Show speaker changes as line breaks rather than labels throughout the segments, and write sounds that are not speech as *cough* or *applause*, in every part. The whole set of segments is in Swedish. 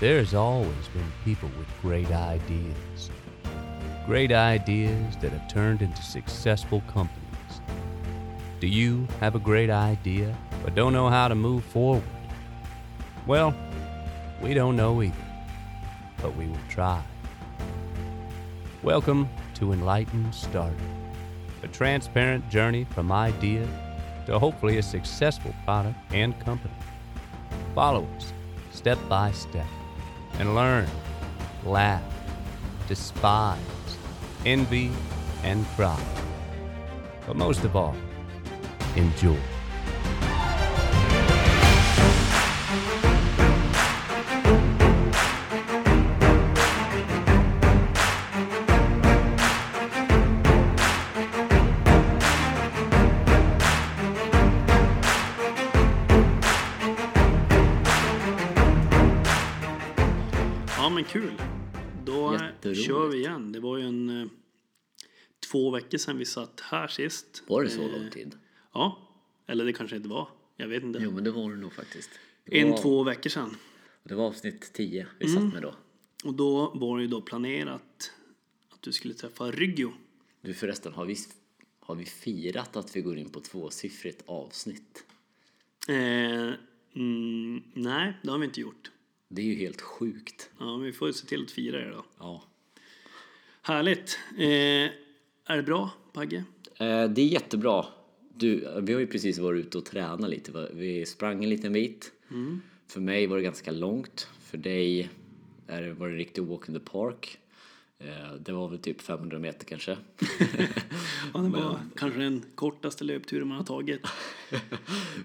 There's always been people with great ideas. Great ideas that have turned into successful companies. Do you have a great idea but don't know how to move forward? Well, we don't know either, but we will try. Welcome to Enlightened Starter, a transparent journey from idea to hopefully a successful product and company. Follow us step by step and learn, laugh, despise, envy, and cry. But most of all, enjoy.
Ja men kul. Då eh,
Jätteroligt.
kör vi igen. Det var ju en eh, två veckor sedan vi satt här sist.
Var det så
Eh,
lång tid?
Ja. Eller det kanske inte var. Jag vet inte.
Jo, men det var det nog faktiskt. Det
en,
var,
två Mm. veckor sedan.
Det var avsnitt 10 vi satt med då.
Och då var det ju då planerat att du skulle träffa Ryggio.
Du förresten, har vi, har vi firat att vi går in på tvåsiffrigt avsnitt?
Eh, mm, nej, det har vi inte gjort.
Det är ju helt sjukt.
Ja, men vi får ju se till att fira det då.
Ja.
Härligt. Eh, är det bra, Pagge?
Eh, det är jättebra. Du, eh, vi har ju precis varit ute och tränat lite. va? Vi sprang en liten bit.
Mm.
För mig var det ganska långt. För dig är det, var det en riktig walk in the park. Eh, det var väl typ 500 meter kanske.
Ja, det var kanske den kortaste löpturen man har tagit.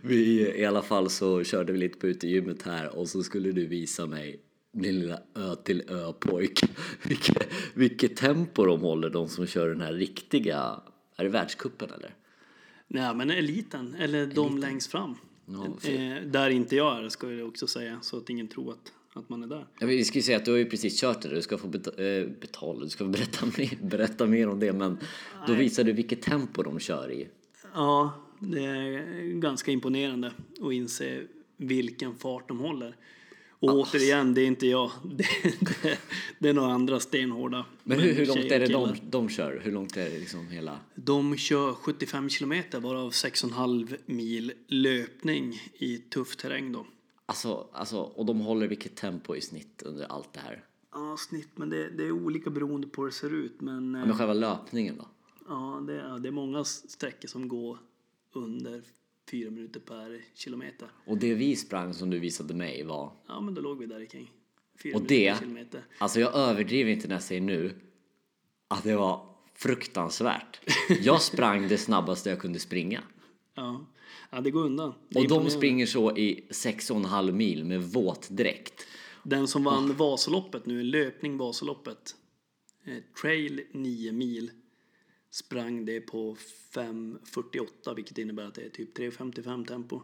Vi, I alla fall så körde vi lite på utegymmet här och så skulle du visa mig din lilla ö till ö pojk. *laughs* Vilket, vilket tempo de håller de som kör den här riktiga, är det världskuppen eller?
Nej, men eliten, eller de längst fram.
Ja, för-
eh, där inte jag är, ska jag också säga, så att ingen tror att, att man är där.
Ja, vi ska ju säga att du har ju precis kört det, du ska få beta- eh, betala, du ska få berätta *laughs* mer, berätta mer om det men då visar du vilket tempo de kör i.
Ja, det är ganska imponerande att inse vilken fart de håller. Och återigen, det är inte jag. *laughs* Det, det, det är några andra stenhårda
Men hur, hur långt
tjejer
är
och
det de,
killar.
de kör? Hur långt är det liksom hela?
De kör 75 kilometer varav 6,5 mil löpning i tuff terräng då.
Alltså, alltså, och de håller vilket tempo i snitt under allt det här?
Ja, snitt, men det, det är olika beroende på hur det ser ut. Men, eh,
Men själva löpningen då?
Ja, det är, det är många sträckor som går under fyra minuter per kilometer.
Och det vi sprang som du visade mig var...
Ja, men då låg vi där kring fyra
Och
minuter
det,
per kilometer.
alltså jag överdriver inte när jag säger nu, att det var fruktansvärt. Jag sprang det snabbaste jag kunde springa.
Ja. ja, det går undan. Det är
Och de
imponerande.
springer så i sex och en halv mil med våtdräkt.
Den som vann Vasaloppet nu, löpning Vasaloppet, eh, trail 9 mil, sprang det på 5.48 vilket innebär att det är typ 3.55 tempo.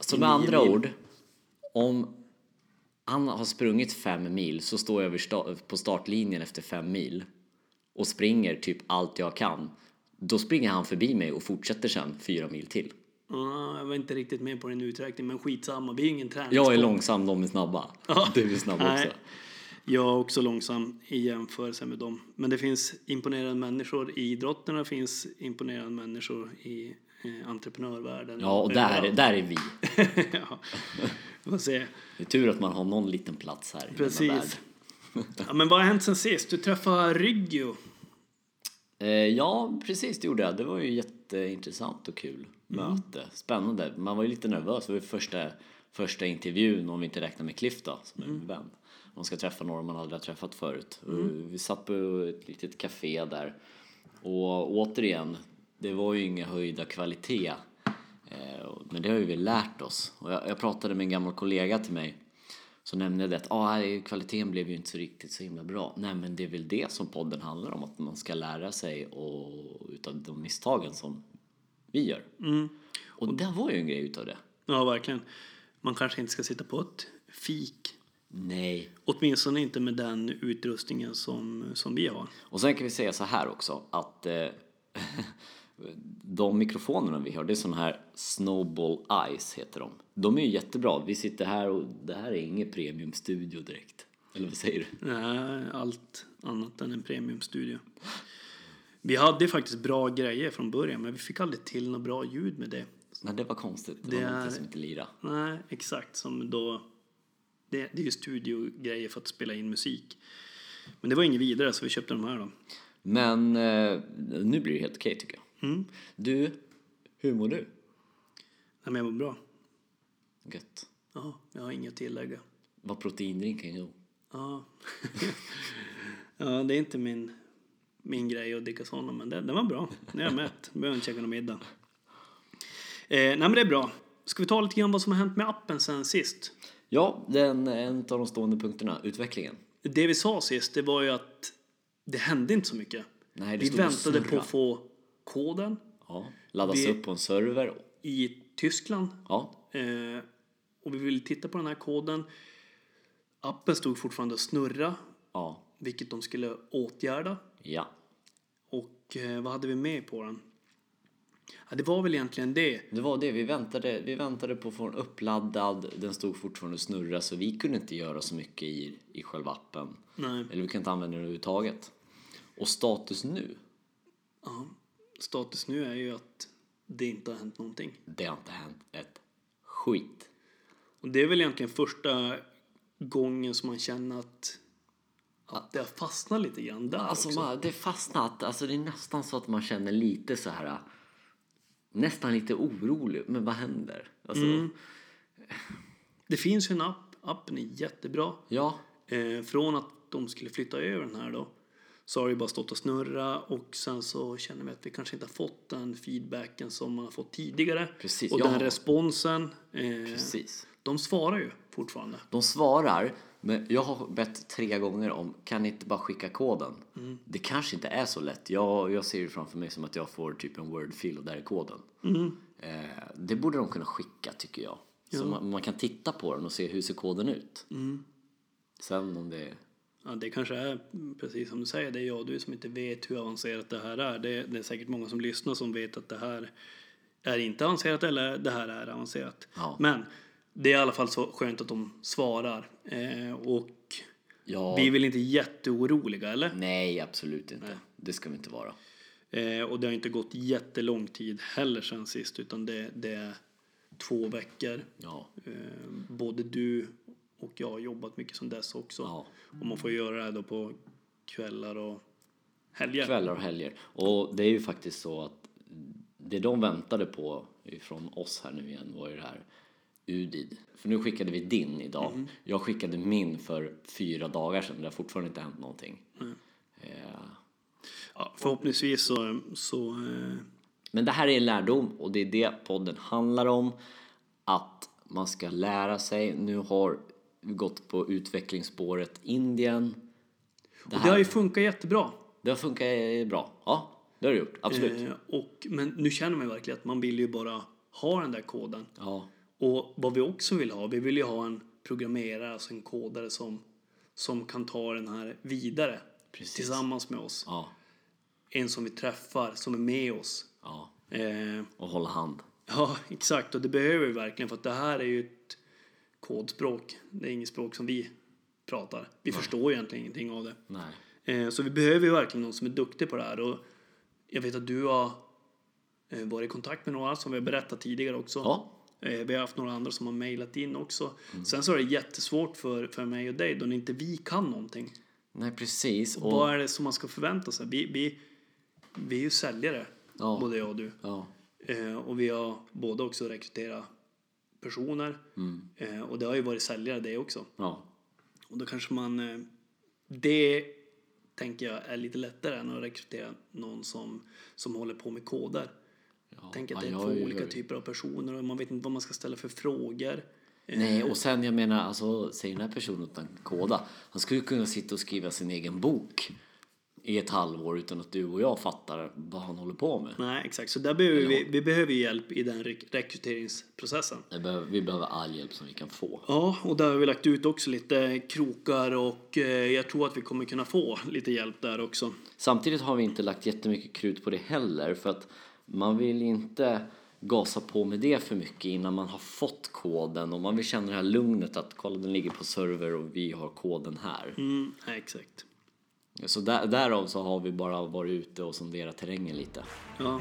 Så med andra ord, om han har sprungit fem mil så står jag vid sta- på startlinjen efter fem mil och springer typ allt jag kan. Då springer han förbi mig och fortsätter sen fyra mil till.
Ja, jag var inte riktigt med på den uträkningen men skitsamma, vi är ju ingen träning.
Jag är långsam, de är snabba. Du är snabb
Nej,
också.
Jag är också långsam i jämförelse med dem. Men det finns imponerande människor i idrotten och det finns imponerande människor i eh, entreprenörvärlden.
Ja, och där, där är vi.
ja. Vi får se.
Det är tur att man har någon liten plats här i denna värld.
Precis. *laughs* Ja, men vad har hänt sen sist? Du träffade Ryggio.
Eh, Ja, precis det gjorde jag. Det var ju jätteintressant och kul möte. Spännande. Man var ju lite nervös. Det var ju första, första intervjun, om vi inte räknar med Cliff då, som är min vän. Man ska träffa någon man aldrig har träffat förut. Och Vi satt på ett litet café där. Och återigen, det var ju inga höjda kvalitet. Eh, Men det har ju vi lärt oss. Och jag, jag pratade med en gammal kollega till mig så nämnde jag det att ah, här- kvaliteten blev ju inte så riktigt så himla bra. Nej men det är väl det som podden handlar om, att man ska lära sig och, utav de misstagen som vi gör. Och det var ju en grej utav det.
Ja, verkligen. Man kanske inte ska sitta på ett fik.
Nej.
Åtminstone inte med den utrustningen som, som vi har.
Och sen kan vi säga så här också att eh, *laughs* de mikrofonerna vi har, det är sådana här Snowball Eyes heter de. De är ju jättebra. Vi sitter här och det här är ingen premiumstudio direkt. Eller vad säger du?
Nej, allt annat än en premiumstudio. Vi hade faktiskt bra grejer från början, men vi fick aldrig till något bra ljud med det.
Nej, det var konstigt. Det,
Det
var
är-
någonting som inte lirade.
Nej, exakt. Som då... Det, det är ju studiogrejer för att spela in musik. Men det var inget vidare, så vi köpte de här då.
Men eh, nu blir det helt okej tycker jag. Du, hur mår du?
Nej, men jag mår bra.
Gött.
Ja, jag har inget att tillägga.
Vad proteindrinken gjorde?
Ja. *laughs* ja, det är inte min, min grej att dricka sådana, men det, det var bra. Nu är jag mätt. Nu behöver jag inte käka någon middag. Eh, nej, men det är bra. Ska vi ta lite grann vad som har hänt med appen sen sist?
Ja, den, en av de stående punkterna, utvecklingen.
Det vi sa sist, det var ju att det hände inte så mycket.
Nej, det
vi
stod och
väntade på
snurra.
att få koden
Ja, laddas
Vi-
upp på en server.
i Tyskland.
Ja,
Eh, och vi ville titta på den här koden. Appen stod fortfarande och snurra,
ja,
vilket de skulle åtgärda.
ja.
Och eh, vad hade vi med på den? Ja, det var väl egentligen det.
Det var det, vi väntade, vi väntade på att få den uppladdad, den stod fortfarande och snurra så vi kunde inte göra så mycket i, i själva appen.
Nej.
Eller vi kan inte använda den överhuvudtaget. Och status nu,
Ja, status nu är ju att det inte har hänt någonting.
det har inte hänt ett skit.
Och det är väl egentligen första gången som man känner att, att det har fastnat lite grann där
Alltså
också.
man, det är fastnat, alltså det är nästan så att man känner lite så här nästan lite orolig, men vad händer? Alltså,
Det finns ju en app, appen är jättebra.
ja,
Eh, från att de skulle flytta över den här då så har det ju bara stått och snurra och sen så känner vi att vi kanske inte har fått den feedbacken som man har fått tidigare.
Precis,
och
ja.
den responsen. Eh,
precis.
de svarar ju fortfarande.
De svarar, men jag har bett tre gånger om kan ni inte bara skicka koden? Det kanske inte är så lätt. Jag, jag ser det framför mig som att jag får typ en wordfil och där är koden. Eh, det borde de kunna skicka tycker jag. Så man, man kan titta på den och se hur ser koden ut. Sen om det...
Ja, det kanske är precis som du säger, det är jag och du som inte vet hur avancerat det här är. Det, det är säkert många som lyssnar som vet att det här är inte avancerat eller det här är avancerat.
Ja.
Men det är i alla fall så skönt att de svarar. Eh, och
Ja,
vi är väl inte jätteoroliga, eller?
Nej, absolut inte. Det ska vi inte vara.
Eh, och det har inte gått jättelång tid heller sen sist utan det, det är två veckor.
Ja,
Eh, både du och jag har jobbat mycket som dess också.
Ja.
Och man får göra det här då på kvällar och helger.
kvällar och helger. Och det är ju faktiskt så att det de väntade på från oss här nu igen var ju det här UDID. För nu skickade vi din idag.
Mm.
Jag skickade min för fyra dagar sedan. Det har fortfarande inte hänt någonting. Eh,
Ja, förhoppningsvis så, så eh,
Men det här är en lärdom och det är det podden handlar om. Att man ska lära sig. Nu har vi gått på utvecklingsspåret Indien.
och det har ju funkat jättebra.
Det har funkat eh, bra. Ja, det har det gjort. Absolut.
Eh, och, men nu känner man ju verkligen att man vill ju bara ha den där koden.
Ja.
Och vad vi också vill ha, vi vill ju ha en programmerare, alltså en kodare som, som kan ta den här vidare
Precis.
tillsammans med oss.
Ja.
En som vi träffar, som är med oss.
Ja.
Eh,
Och hålla hand.
ja, exakt. Och det behöver vi verkligen för att det här är ju ett kodspråk. Det är inget språk som vi pratar. Vi förstår ju egentligen ingenting av det.
Nej.
Eh, så vi behöver ju verkligen någon som är duktig på det här. Och jag vet att du har eh, varit i kontakt med några som vi har berättat tidigare också.
Ja. Mm.
Eh, Vi har haft några andra som har mejlat in också. Sen så är det jättesvårt för, för mig och dig då inte vi kan någonting.
Nej, precis. Och,
Vad är det som man ska förvänta sig? Vi, vi, vi är ju säljare,
Ja.
både jag och du.
ja,
Eh, och vi har båda också rekryterat personer.
Mm.
Eh, och det har ju varit säljare det också.
ja,
Och då kanske man... eh, Det tänker jag är lite lättare än att rekrytera någon som, som håller på med koder.
ja.
Tänk att
Ja,
det är
jag
två
ju-
olika typer av personer och man vet inte vad man ska ställa för frågor. Eh,
Nej, och sen jag menar, alltså, säger den här personen att han kan koda. Han skulle ju kunna sitta och skriva sin egen bok i ett halvår utan att du och jag fattar vad han håller på med.
Nej, exakt. Så där behöver vi, vi behöver ju hjälp i den rek- rekryteringsprocessen.
Det behöver, vi behöver all hjälp som vi kan få.
Ja, och där har vi lagt ut också lite krokar och eh, jag tror att vi kommer kunna få lite hjälp där också.
Samtidigt har vi inte lagt jättemycket krut på det heller för att man vill inte gasa på med det för mycket innan man har fått koden och man vill känna det här lugnet att kolla den ligger på server och vi har koden här.
Mm, nej, exakt.
Så där, därav så har vi bara varit ute och sonderat terrängen lite.
Ja.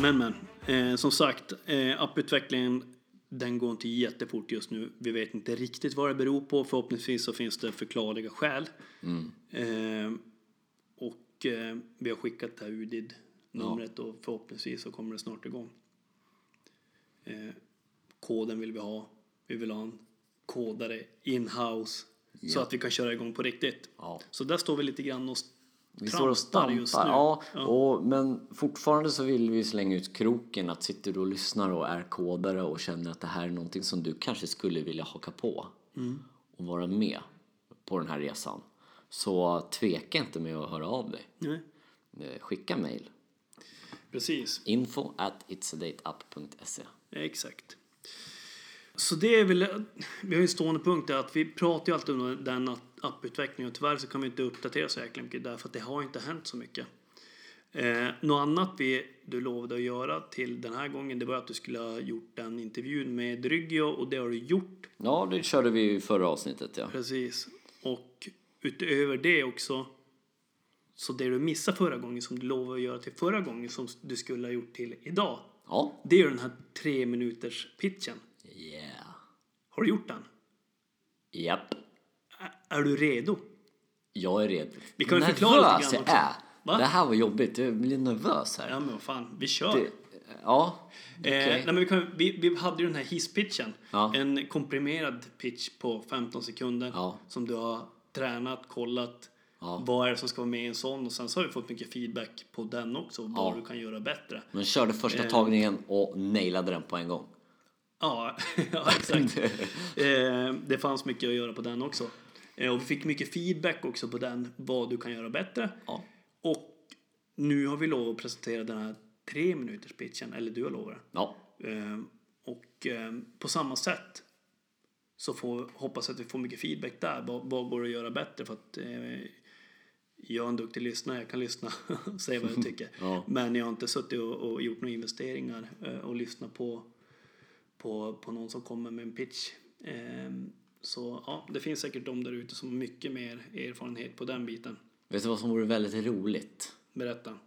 Men men, eh, som sagt, eh, apputvecklingen den går inte jättefort just nu. Vi vet inte riktigt vad det beror på. Förhoppningsvis så finns det förklarliga skäl.
Mm.
Eh, och eh, vi har skickat det här UDID-numret och förhoppningsvis så kommer det snart igång. Eh, koden vill vi ha. Vi vill ha en kodare in-house så
Ja.
att vi kan köra igång på riktigt.
Ja.
Så där står vi lite grann och
Vi står och
trampar
stampar.
just nu.
Ja, Och, men fortfarande så vill vi slänga ut kroken att sitter du och lyssnar och är kodare och känner att det här är någonting som du kanske skulle vilja haka på
Mm.
och vara med på den här resan så tveka inte med att höra av dig.
Nej,
Eh, Skicka mejl.
precis.
Info at itsadatapp.se
Exakt. Så det är väl, vi har ju en stående punkt där att vi pratar ju alltid om den app- apputvecklingen och tyvärr så kan vi inte uppdatera så jäkla mycket därför att det har inte hänt så mycket. Eh, något annat vi, du lovade att göra till den här gången det var att du skulle ha gjort den intervjun med Dryggio och det har du gjort
Ja, det körde vi ju i förra avsnittet ja.
precis. Och utöver det också så det du missade förra gången som du lovade att göra till förra gången som du skulle ha gjort till idag
Ja.
det är ju den här tre minuters pitchen.
Yeah.
Har du gjort den?
Japp.
Är du redo?
Jag är redo.
Vi kan väl
nervös
förklara lite grann
jag
också.
är.
Va?
Det här var jobbigt. Jag blir nervös här.
Ja men vad fan, vi kör!
Det- Ja.
eh,
okej.
nej, men vi, kan, vi, vi hade ju den här hisspitchen.
Ja.
En komprimerad pitch på 15 sekunder
Ja.
som du har tränat, kollat.
Ja.
Vad är det som ska vara med i en sån? Och sen så har vi fått mycket feedback på den också. och Vad
Ja.
du kan göra bättre.
Men körde första
Eh.
tagningen och nailade den på en gång.
Ja, *laughs* ja exakt. eh, det fanns mycket att göra på den också. Eh, och vi fick mycket feedback också på den, vad du kan göra bättre.
Ja.
Och nu har vi lov att presentera den här tre minuters pitchen, eller du har lovat det.
Ja.
Eh, Och eh, på samma sätt så får, hoppas jag att vi får mycket feedback där. Vad, vad går att göra bättre? För att eh, jag är en duktig lyssnare, jag kan lyssna och säga
*laughs*
vad jag tycker.
Ja.
Men jag har inte suttit och, och gjort några investeringar eh, och lyssnat på, på, på någon som kommer med en pitch. Eh, så ja, det finns säkert de där ute som har mycket mer erfarenhet på den biten.
Vet du vad som vore väldigt roligt?
Berätta.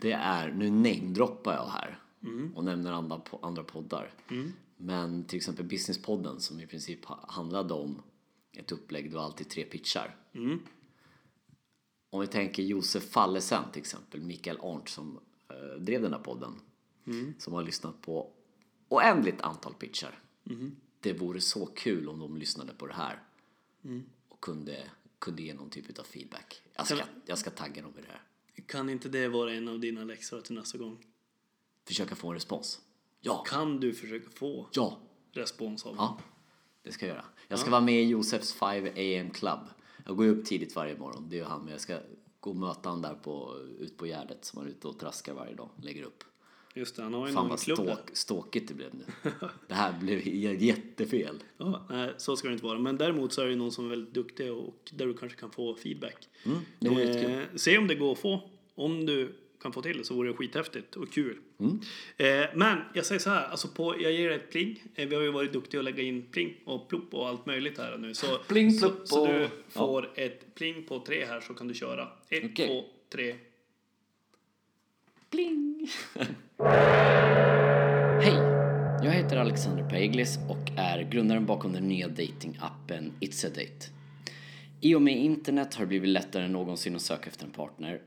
Det är, nu namedroppar jag här och nämner andra, po- andra poddar. Men till exempel Businesspodden som i princip ha- handlade om ett upplägg då alltid tre pitchar. Om vi tänker Josef Fallesen till exempel, Mikael Arndt som eh, drev den här podden. Som har lyssnat på oändligt antal pitchar. Det vore så kul om de lyssnade på det här. Och kunde, kunde ge någon typ av feedback. Jag ska, jag ska tagga dem i det här.
Kan inte det vara en av dina läxor till nästa gång?
försöka få en respons. Ja,
Kan du försöka få
ja,
respons av
ja. Det ska jag göra. Jag ska vara med i Josefs 5 AM Club. Jag går ju upp tidigt varje morgon. Det är ju han. Men jag ska gå och möta han där på, ut på Gärdet som han är ute och traskar varje dag. Lägger upp.
Just det, han har ju
Fan
någon
vad
klubb där.
ståk, ståkigt det blev nu. Det här blev j- jättefel.
Ja, nej, så ska det inte vara. Men däremot så är det någon som är väldigt duktig och där du kanske kan få feedback.
Mm, det vore
eh, se om det går att få. Om du kan få till det så vore det skithäftigt och kul.
Mm.
Eh, men jag säger så här, alltså på, jag ger dig ett pling. Eh, vi har ju varit duktiga att lägga in pling och plopp och allt möjligt här nu. Så,
Pling,
så,
plopp
så
och-
du
ja.
får ett pling på tre här så kan du köra. Ett,
Okej.
två, tre.
Pling! Hej! Jag heter Alexander Paeglis och är grundaren bakom den nya datingappen It's a Date. I och med internet har det blivit lättare än någonsin att söka efter en partner.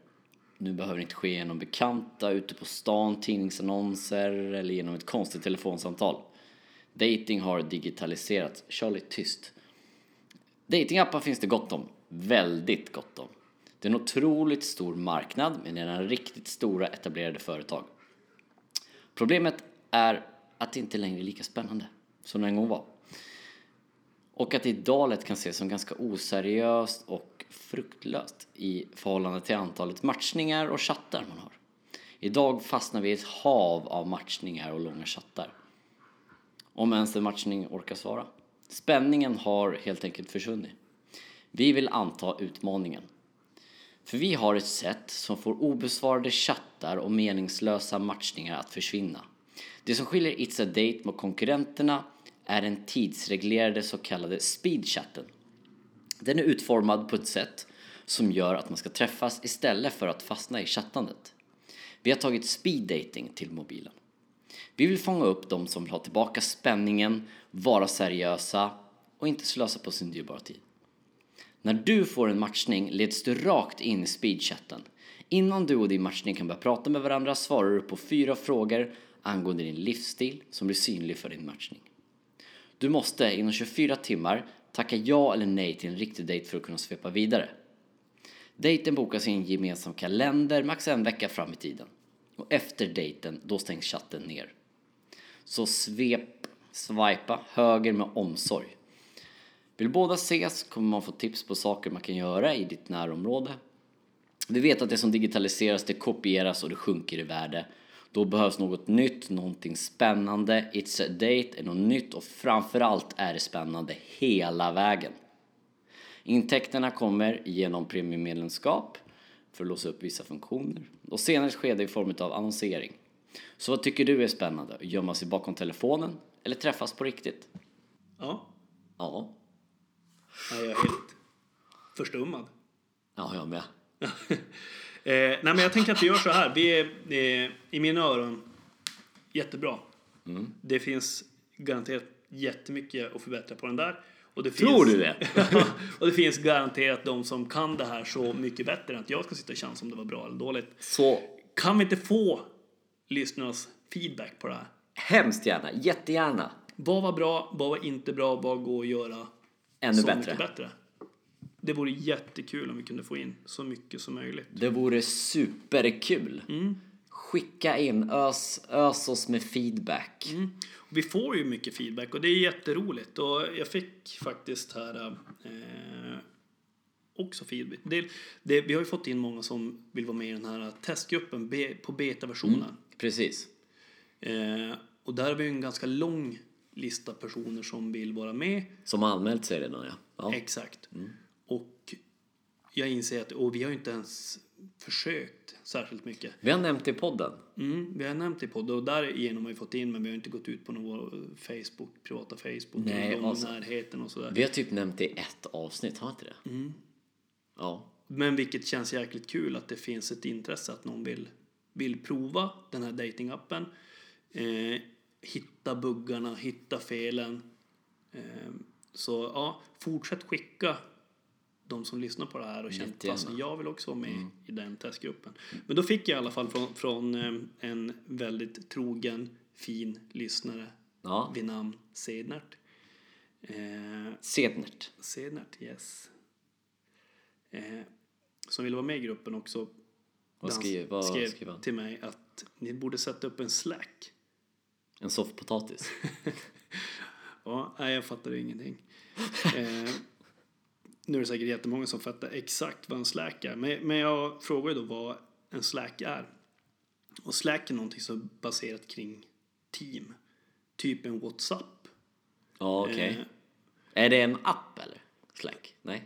Nu behöver det inte ske genom bekanta, ute på stan, tidningsannonser eller genom ett konstigt telefonsamtal. Dating har digitaliserats. Charlie, tyst. Datingappar finns det gott om. Väldigt gott om. Det är en otroligt stor marknad med redan riktigt stora etablerade företag. Problemet är att det inte längre är lika spännande som det en gång var. Och att det idag lätt kan ses som ganska oseriöst och fruktlöst i förhållande till antalet matchningar och chattar man har. Idag fastnar vi i ett hav av matchningar och långa chattar. Om ens en matchning orkar svara. Spänningen har helt enkelt försvunnit. Vi vill anta utmaningen. För vi har ett sätt som får obesvarade chattar och meningslösa matchningar att försvinna. Det som skiljer It's a Date mot konkurrenterna är den tidsreglerade så kallade speedchatten. Den är utformad på ett sätt som gör att man ska träffas istället för att fastna i chattandet. Vi har tagit speed dating till mobilen. Vi vill fånga upp de som vill ha tillbaka spänningen, vara seriösa och inte slösa på sin dyrbara tid. När du får en matchning leds du rakt in i speedchatten. Innan du och din matchning kan börja prata med varandra svarar du på fyra frågor angående din livsstil som blir synlig för din matchning. Du måste inom 24 timmar tacka ja eller nej till en riktig dejt för att kunna svepa vidare. Dejten bokas i en gemensam kalender max en vecka fram i tiden. Och efter dejten, då stängs chatten ner. Så svep, swipa höger med omsorg. Vill båda ses kommer man få tips på saker man kan göra i ditt närområde. Vi vet att det som digitaliseras, det kopieras och det sjunker i värde. Då behövs något nytt, någonting spännande. It's a date är något nytt och framförallt är det spännande hela vägen. Intäkterna kommer genom premiummedlemskap för att låsa upp vissa funktioner och senare ett skede i form av annonsering. Så vad tycker du är spännande? Gömma sig bakom telefonen eller träffas på riktigt?
Ja,
Ja,
Ja, jag är helt förstummad.
ja jag med.
Eh, nej, men jag tänker att vi gör så här. Vi är, eh, I mina öron, jättebra.
Mm.
Det finns garanterat jättemycket att förbättra på den där. Och det
Tror
finns, *laughs*
du det?
och det finns garanterat de som kan det här så mycket bättre än att jag ska sitta och chansa om det var bra eller dåligt.
Så
Kan vi inte få lyssnarnas feedback på det här?
hemskt gärna, jättegärna.
Vad var bra? Vad var inte bra? Vad går att göra
Ännu
så
bättre.
mycket bättre? Det vore jättekul om vi kunde få in så mycket som möjligt.
Det vore superkul.
Mm.
Skicka in, ös, ös oss med feedback.
Mm. Vi får ju mycket feedback och det är jätteroligt. Och jag fick faktiskt här eh, också feedback. Det, det, vi har ju fått in många som vill vara med i den här testgruppen be, på betaversionen.
Precis.
Eh, och där har vi ju en ganska lång lista personer som vill vara med.
Som har anmält sig redan ja. ja.
Exakt. Och jag inser att och vi har ju inte ens försökt särskilt mycket.
Vi har nämnt i podden.
Mm, vi har nämnt i podden och därigenom har vi fått in men vi har inte gått ut på någon eh, Facebook, privata Facebook,
Nej,
de i
alltså.
närheten och sådär.
Vi har typ nämnt det i ett avsnitt, har vi inte det?
Mm.
Ja.
Men vilket känns jäkligt kul att det finns ett intresse att någon vill, vill prova den här datingappen. Eh, hitta buggarna, hitta felen. Eh, så ja, fortsätt skicka de som lyssnar på det här och känner
Jättegärna. Mm.
att alltså, jag vill också vara med i den testgruppen. Men då fick jag i alla fall från, från eh, en väldigt trogen, fin lyssnare
ja.
vid namn Sednert. Eh,
Sednert.
Sednert, yes. Eh, som ville vara med i gruppen också.
Vad
dans-
skrev, vad
skrev
skrev han?
till mig att ni borde sätta upp en slack.
En soffpotatis.
Ja, nej, jag fattar ju
*laughs*
ingenting. Eh, nu är det säkert jättemånga som fattar exakt vad en slack är. Men, men jag frågar ju då vad en slack är. Och slack är någonting som är baserat kring team. Typ en WhatsApp.
Ja, okej.
Eh.
Är det en app eller? Slack? Nej?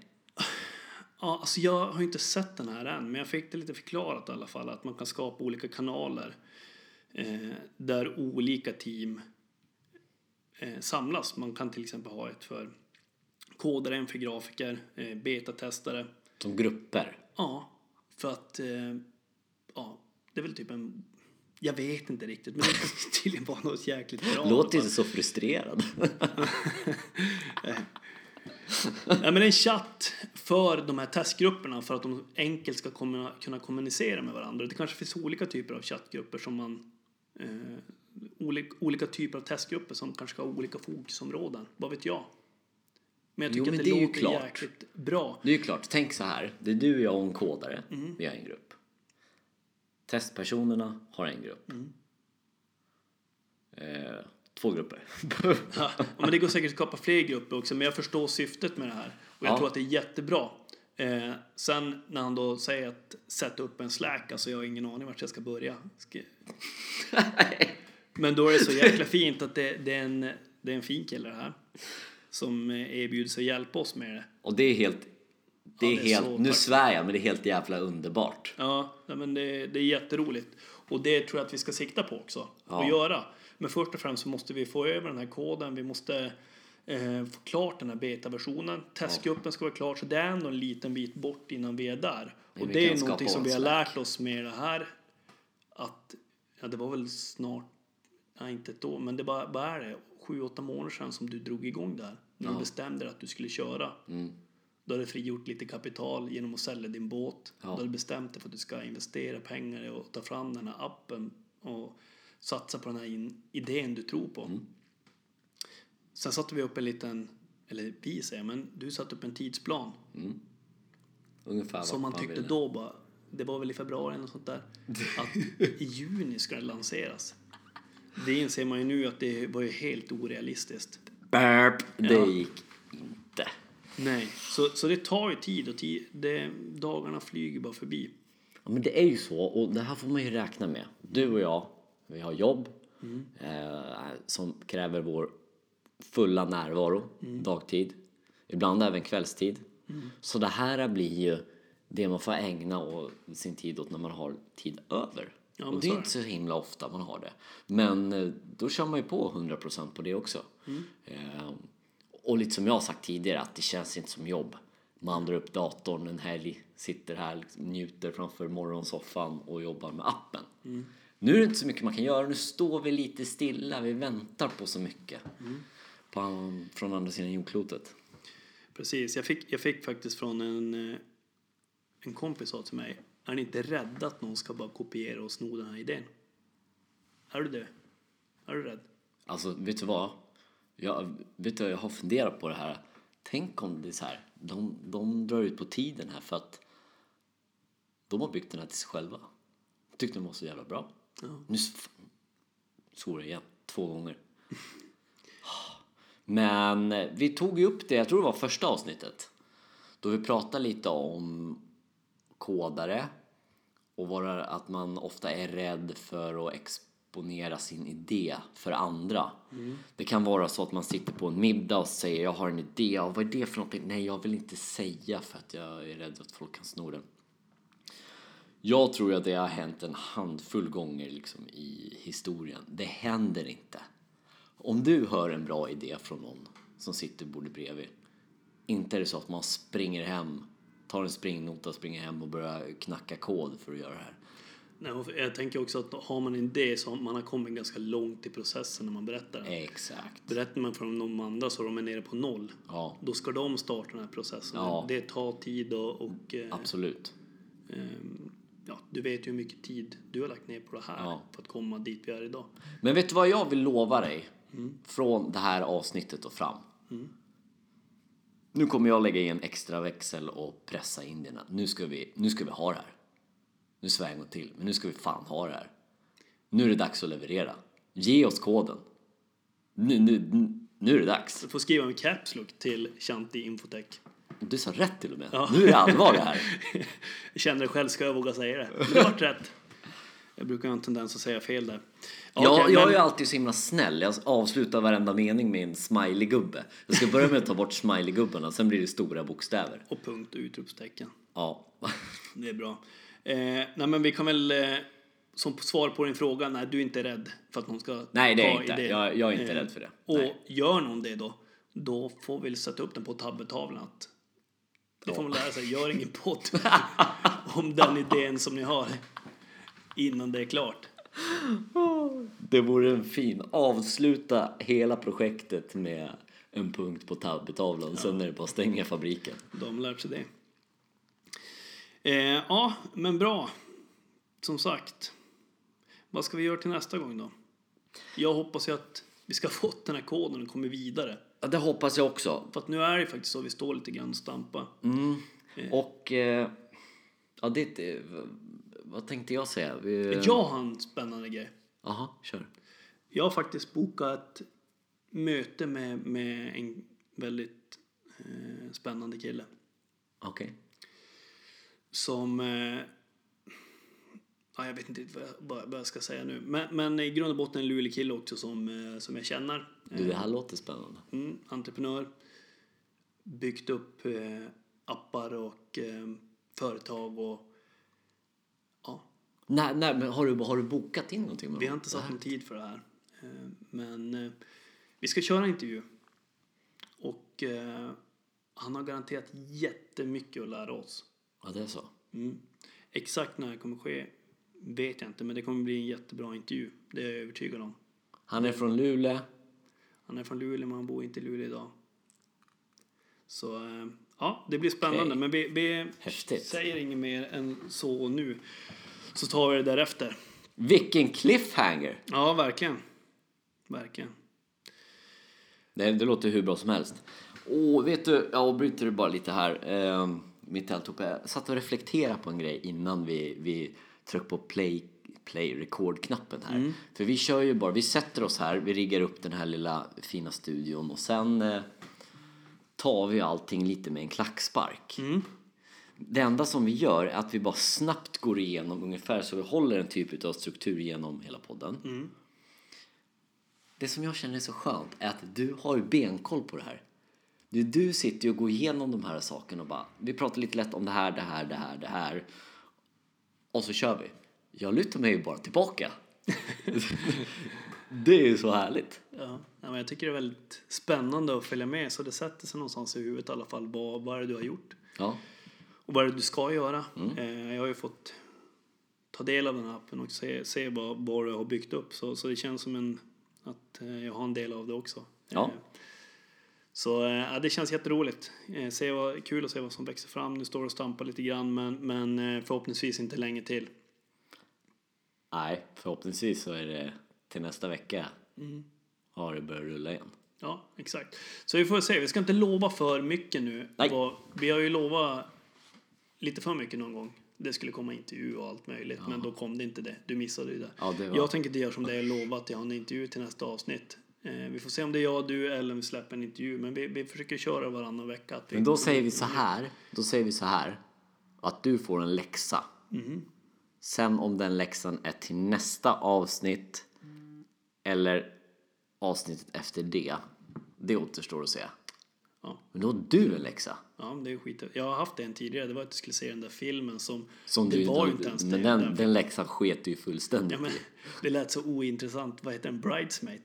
Ja, alltså jag har ju inte sett den här än, men jag fick det lite förklarat i alla fall att man kan skapa olika kanaler eh, där olika team eh, samlas. Man kan till exempel ha ett för kodare, en för grafiker, eh, betatestare.
Som grupper?
Ja, för att eh, ja, det är väl typ en jag vet inte riktigt, men det kan *laughs* tydligen vara något jäkligt bra.
Låt inte så frustrerad. *laughs*
Ja, men en chatt för de här testgrupperna för att de enkelt ska komma, kunna kommunicera med varandra. Det kanske finns olika typer av chattgrupper som man... Eh, olika, olika typer av testgrupper som kanske ska ha olika fokusområden. Vad vet jag? Men jag
Jo,
tycker
men
att
det
det,
är ju
låter
klart.
jäkligt bra.
Det är ju klart, tänk så här. Det är du, jag och en kodare.
Mm.
Vi har en grupp. Testpersonerna har en grupp.
Mm.
Eh, två grupper. *laughs*
Ja, men det går säkert att skapa fler grupper också, men jag förstår syftet med det här. Och jag
Ja.
tror att det är jättebra. Eh, sen när han då säger att sätta upp en slack, alltså jag har ingen aning vart jag ska börja. Ska... men då är det så jäkla fint att det, det, är, en, det är en fin kille det här. Som eh, erbjuder sig att hjälpa oss med det.
och det är helt Det är
det är
helt,
så
nu
tack.
svär jag, men det är helt jävla underbart.
Ja, nej, men det, det är jätteroligt. Och det tror jag att vi ska sikta på också.
Ja.
Och göra. Men först och främst så måste vi få över den här koden. Vi måste eh, få klart den här betaversionen. Testgruppen ska vara klar. Så det är ändå en liten bit bort innan vi är där.
Men
och
vi
det
kan
är
skapa
någonting som
oss
vi har
där.
lärt oss med det här. Att, ja det var väl snart, nej inte ett år, men det bara, bara är det. Sju, åtta månader sedan som du drog igång där. När du bestämde dig att du skulle köra.
Mm.
Då har du frigjort lite kapital genom att sälja din båt.
Ja.
Då har du bestämt dig för att du ska investera pengar i och ta fram den här appen och satsa på den här in- idén du tror på.
Mm.
Sen satte vi upp en liten, eller vi säger, men du satte upp en tidsplan
Ungefär
som
vad
man tyckte
ville.
då bara, det var väl i februari eller något sånt där, att i juni ska det lanseras. Det inser man ju nu att det var ju helt orealistiskt.
Burp, det
Ja.
gick inte.
Nej, så, så det tar ju tid och tid, det, dagarna flyger bara förbi.
Ja, men det är ju så och det här får man ju räkna med. Du och jag, vi har jobb eh, som kräver vår fulla närvaro
Mm.
dagtid, ibland även kvällstid. Så det här blir ju det man får ägna å- sin tid åt när man har tid över.
Ja, men
och
så
det är
är
inte så himla ofta man har det. Men eh, då kör man ju på 100% på det också. Eh, och lite som jag har sagt tidigare, att det känns inte som jobb. Man drar upp datorn en helg, sitter här, liksom, njuter framför morgonsoffan och jobbar med appen. Nu är det inte så mycket man kan göra, nu står vi lite stilla, vi väntar på så mycket. På, från andra sidan jordklotet.
Precis, jag fick, jag fick faktiskt från en, eh, en kompis sa till mig, är ni inte rädda att någon ska bara kopiera och sno den här idén? Är du det? Är du rädd?
Alltså, vet du vad? Jag, vet du, vad, jag har funderat på det här. Tänk om det är så här. De, de drar ut på tiden här för att de har byggt den här till sig själva. Tyckte de var så jävla bra.
Ja.
Nu s- fan, svor jag igen. Två gånger. *laughs* Men eh, vi tog ju upp det, jag tror det var första avsnittet. Då vi pratade lite om kodare och vara att man ofta är rädd för att exponera sin idé för andra. Det kan vara så att man sitter på en middag och säger jag har en idé, ja, vad är det för någonting? Nej, jag vill inte säga för att jag är rädd att folk kan sno den. Jag tror att det har hänt en handfull gånger liksom i historien. Det händer inte. Om du hör en bra idé från någon som sitter bordet bredvid, inte är det så att man springer hem, tar en springnota, springer hem och börjar knacka kod för att göra det här.
Nej, och jag tänker också att har man en idé så har man har kommit ganska långt i processen när man berättar den.
Exakt.
Berättar man för de andra så de är nere på noll.
Ja,
Då ska de starta den här processen.
Ja.
Det tar tid och, och eh,
absolut.
ehm, ja, du vet ju hur mycket tid du har lagt ner på det här
Ja.
för att komma dit vi är idag.
Men vet du vad jag vill lova dig? Från det här avsnittet och fram. Nu kommer jag lägga i en extra växel och pressa indierna. Nu ska vi, nu ska vi ha det här. Nu svär jag en gång till, men nu ska vi fan ha det här. Nu är det dags att leverera. Ge oss koden. Nu, nu, nu- nu är det dags.
Du får skriva en caps lock till Chanti Infotech.
Du sa rätt till och med. Nu är det allvar det här.
Jag känner det själv, ska jag våga säga det? Men det vart rätt. Jag brukar ha en tendens att säga fel där.
jag
Okej,
jag
men-
är ju alltid så himla snäll. Jag avslutar varenda mening med en smiley-gubbe. Jag ska börja med att ta bort smiley-gubbarna, sen blir det stora bokstäver.
Och punkt och utropstecken.
Ja.
Det är bra. Eh, nej, men vi kan väl eh, som svar på din fråga, nej, du är inte rädd för att någon ska
Nej, det är
ta
jag inte.
idén. Eh,
Jag- jag är inte rädd för det.
Och
Nej.
gör någon det då, då får vi sätta upp den på tabbetavlan. Att, det får man lära sig, gör
*laughs*
ingen podd om den idén som ni har innan det är klart.
Det vore en fin. Avsluta hela projektet med en punkt på tabbetavlan. Sen är det bara att stänga fabriken.
De har lärt sig det. Eh, ja, men bra. Som sagt. Vad ska vi göra till nästa gång då? Jag hoppas ju att vi ska *laughs* ha fått den här koden och kommer vidare.
Ja, det hoppas jag också.
För att nu är det faktiskt så vi står lite grann och stampar.
Och... eh, Ja, det... är inte- Vad tänkte jag säga? Vi-
Jag har en spännande grej.
Jaha, kör.
Jag har faktiskt bokat ett möte med, med en väldigt eh, spännande kille.
Okej.
som... Eh, ja, jag vet inte riktigt vad jag, vad, vad jag ska säga nu. Men, men i grund och botten en lulig kille också som, eh, som jag känner.
Eh. Du, det här låter spännande.
Mm, entreprenör. Byggt upp eh, appar och eh, företag och ja,
Nej, nej, men har du, har du bokat in någonting? med
vi
dem?
har inte satt någon tid för det här. Eh, Men eh, vi ska köra en intervju. Och eh, han har garanterat jättemycket att lära oss.
Ja, det är så.
Mm. Exakt när det kommer ske vet jag inte, men det kommer bli en jättebra intervju. Det är jag övertygad om.
Han är från Luleå.
Han är från Luleå, men han bor inte i Luleå idag. Så eh, ja, det blir spännande.
Okej.
Men vi, vi
Häftigt.
säger inget mer än så nu. Så tar vi det därefter.
Vilken cliffhanger!
Ja, verkligen. Verkligen.
Det, det låter hur bra som helst. Och vet du, jag avbryter det bara lite här. Ehm, mitt i alltihop. Jag satt och reflekterade på en grej innan vi, vi tryckte på play, play record-knappen här. För vi kör ju bara, vi sätter oss här, vi riggar upp den här lilla fina studion och sen eh, tar vi allting lite med en klackspark. Det enda som vi gör är att vi bara snabbt går igenom ungefär så vi håller en typ av struktur genom hela podden. Det som jag känner är så skönt är att du har ju benkoll på det här. Du, du sitter ju och går igenom de här sakerna och bara, vi pratar lite lätt om det här, det här, det här, det här. Och så kör vi. Jag lutar mig ju bara tillbaka. *laughs* det är ju så härligt.
Ja, nej, men jag tycker det är väldigt spännande att följa med så det sätter sig någonstans i huvudet i alla fall. Vad, vad är det du har gjort?
Ja,
Och vad är det du ska göra? Eh, jag har ju fått ta del av den här appen och se, se vad, vad du har byggt upp. Så, så det känns som en, att eh, jag har en del av det också.
Ja.
Eh, så eh, ja, det känns jätteroligt. Eh, se vad, kul att se vad som växer fram. Nu står det och stampar lite grann men, men eh, förhoppningsvis inte länge till.
nej, förhoppningsvis så är det till nästa vecka har det börjat rulla igen.
Ja, exakt. Så vi får se. Vi ska inte lova för mycket nu.
Nej.
Vad- Vi har ju lovat lite för mycket någon gång. Det skulle komma intervju och allt möjligt, men då kom det inte det. Du missade ju det.
Ja, det var-
Jag tänker inte göra som det jag lovat. Jag har en intervju till nästa avsnitt. Eh, vi får se om det är jag, du eller om vi släpper en intervju. Men vi, vi försöker köra varannan vecka. Att vi...
Men då säger vi så här. Då säger vi så här. Att du får en läxa.
Mhm.
Sen om den läxan är till nästa avsnitt eller avsnittet efter det. Det återstår att se.
Ja.
Men då har du en läxa.
Ja, men det är skit. Jag har haft en tidigare. Det var att du skulle se den där filmen som...
Som
det
du
var
har-
ju inte ens
Men
det.
den, den läxan sket du ju fullständigt
Ja, men, det lät så ointressant. Vad heter den? Bridesmaid?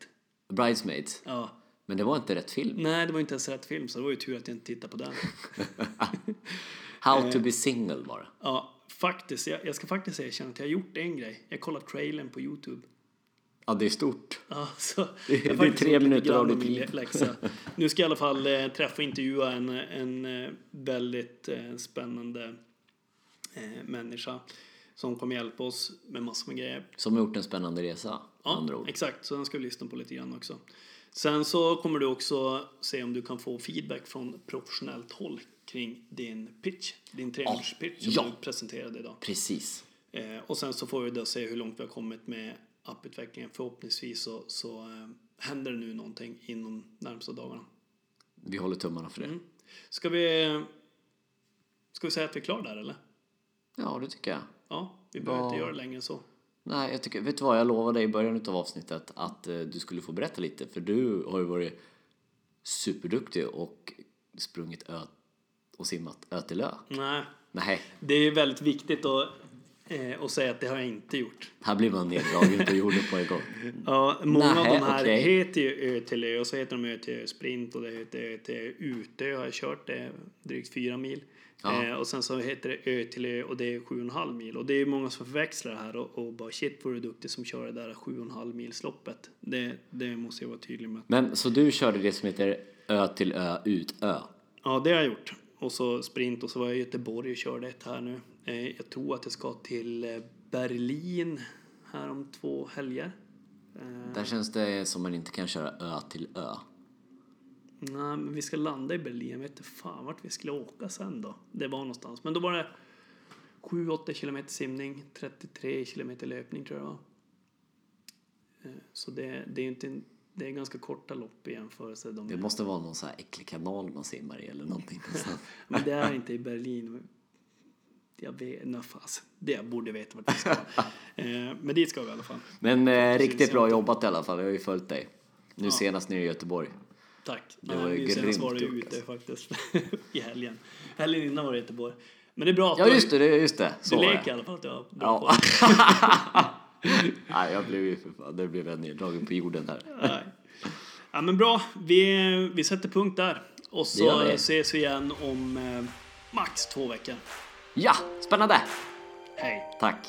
i. Bridesmaids.
Ja.
Men det var inte rätt film.
Nej, det var inte ens rätt film, så det var ju tur att jag inte tittade på den.
How to be single var det.
Ja, faktiskt. Jag, jag ska faktiskt erkänna att jag har gjort en grej. Jag kollar trailern på YouTube.
Ja, det är stort.
Ja, så jag
Det är-
har
det är
faktiskt
tre
gjort lite
minuter av
grann
ditt
min
liv.
läxa. Nu ska jag i alla fall eh, träffa och intervjua en, en eh, väldigt eh, spännande eh, människa som kommer hjälpa oss med massor med grejer.
Som har gjort en spännande resa. med
Ja,
andra ord.
exakt. Så den ska vi lyssna på lite grann också. Sen så kommer du också se om du kan få feedback från professionellt håll kring din pitch, din treminuters-pitch som
Ja.
du presenterade idag.
Precis.
Eh, och sen så får vi då se hur långt vi har kommit med apputvecklingen. Förhoppningsvis så, så eh, händer det nu någonting inom närmsta dagarna.
Vi håller tummarna för det.
Mm. Ska vi, ska vi säga att vi är klara där eller?
Ja, det tycker jag.
Ja, vi behöver inte
Ja.
göra det längre än så.
Nej, jag tycker, vet du vad? Jag lovade i början av avsnittet att eh, du skulle få berätta lite. För du har ju varit superduktig och sprungit ö- och simmat ö till ö.
Nej,
Nej,
det är väldigt viktigt att, eh, att säga att det har jag inte gjort.
här blir man neddragen på jorden på en gång.
Ja, många
Nähä,
av de här
okej.
heter ju Ö till Ö och så heter de Ö till Ö Sprint och det heter Ö till Ö Utö har jag kört, det är drygt fyra mil.
Ja.
Eh, och sen så heter det Ö till Ö och det är sju och en halv mil. Och det är många som förväxlar det här och, och bara shit vad du är duktig som kör det där sju och en halv milsloppet. Det, det måste jag vara tydlig med.
Men så du körde det som heter ö till ö ut ö.
Ja, det har jag gjort. Och så sprint och så var jag i Göteborg och körde ett här nu. Eh, jag tror att jag ska till eh, Berlin här om två helger. Eh,
Där känns det som man inte kan köra ö till ö.
Nej, men vi ska landa i Berlin. Jag vet inte fan vart vi skulle åka sen då. Det var någonstans. Men då var det 7-8 kilometer simning, 33 kilometer löpning tror jag det var. Eh, Så det, det är inte en, det är ganska korta lopp i jämförelse. De
Det måste vara någon så här äcklig kanal man simmar i eller någonting.
Men det är inte i Berlin. Jag vet inte, fas. Det jag borde veta vart vi
*laughs*
ska. Eh, Men dit ska vi i alla fall.
Men eh, riktigt bra jobbat i alla fall. Jag har ju följt dig. Nu senast nere i Göteborg.
Tack.
Det
Det var
var ju
Nej, senast
grymt
var det ju
gjort,
ute faktiskt. *laughs* I helgen. Helgen innan var det Göteborg. Men det är bra att
Ja
du-
just det, det- just det. Så
du
var
leker i
det.
alla fall att jag har bra koll.
Ja. Nej, jag blev ju för fan, där blev jag neddragen på jorden där.
Nej. Ja, men bra. Vi, vi sätter punkt där. Och
Det
så
gör vi.
ses vi igen om eh, max två veckor.
Ja, spännande!
Hej!
Tack.